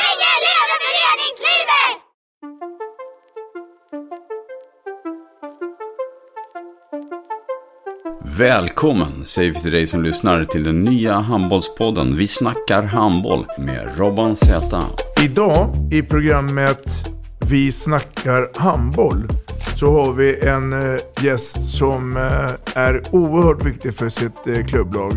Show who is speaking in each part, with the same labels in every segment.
Speaker 1: Länge leve föreningslivet!
Speaker 2: Välkommen säger vi till dig som lyssnar till den nya handbollspodden Vi snackar handboll med Robban Z.
Speaker 3: Idag i programmet Vi snackar handboll så har vi en eh, gäst som eh, är oerhört viktig för sitt eh, klubblag.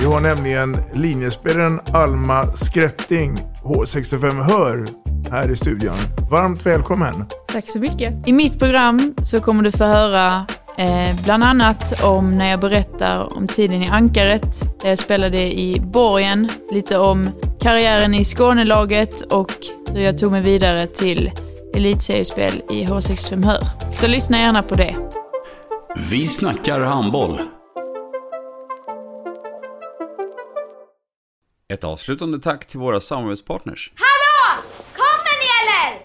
Speaker 3: Vi har nämligen linjespelaren Alma Skrätting, H65 Hör, här i studion. Varmt välkommen!
Speaker 4: Tack så mycket. I mitt program så kommer du få höra eh, bland annat om när jag berättar om tiden i Ankaret, där jag spelade i Borgen, lite om karriären i Skånelaget och hur jag tog mig vidare till elitseriespel i H65 Hör. Så lyssna gärna på det.
Speaker 2: Vi snackar handboll. Ett avslutande tack till våra samarbetspartners.
Speaker 1: Hallå! Kommer ni eller?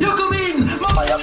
Speaker 5: Jag kom in! Mamma, jag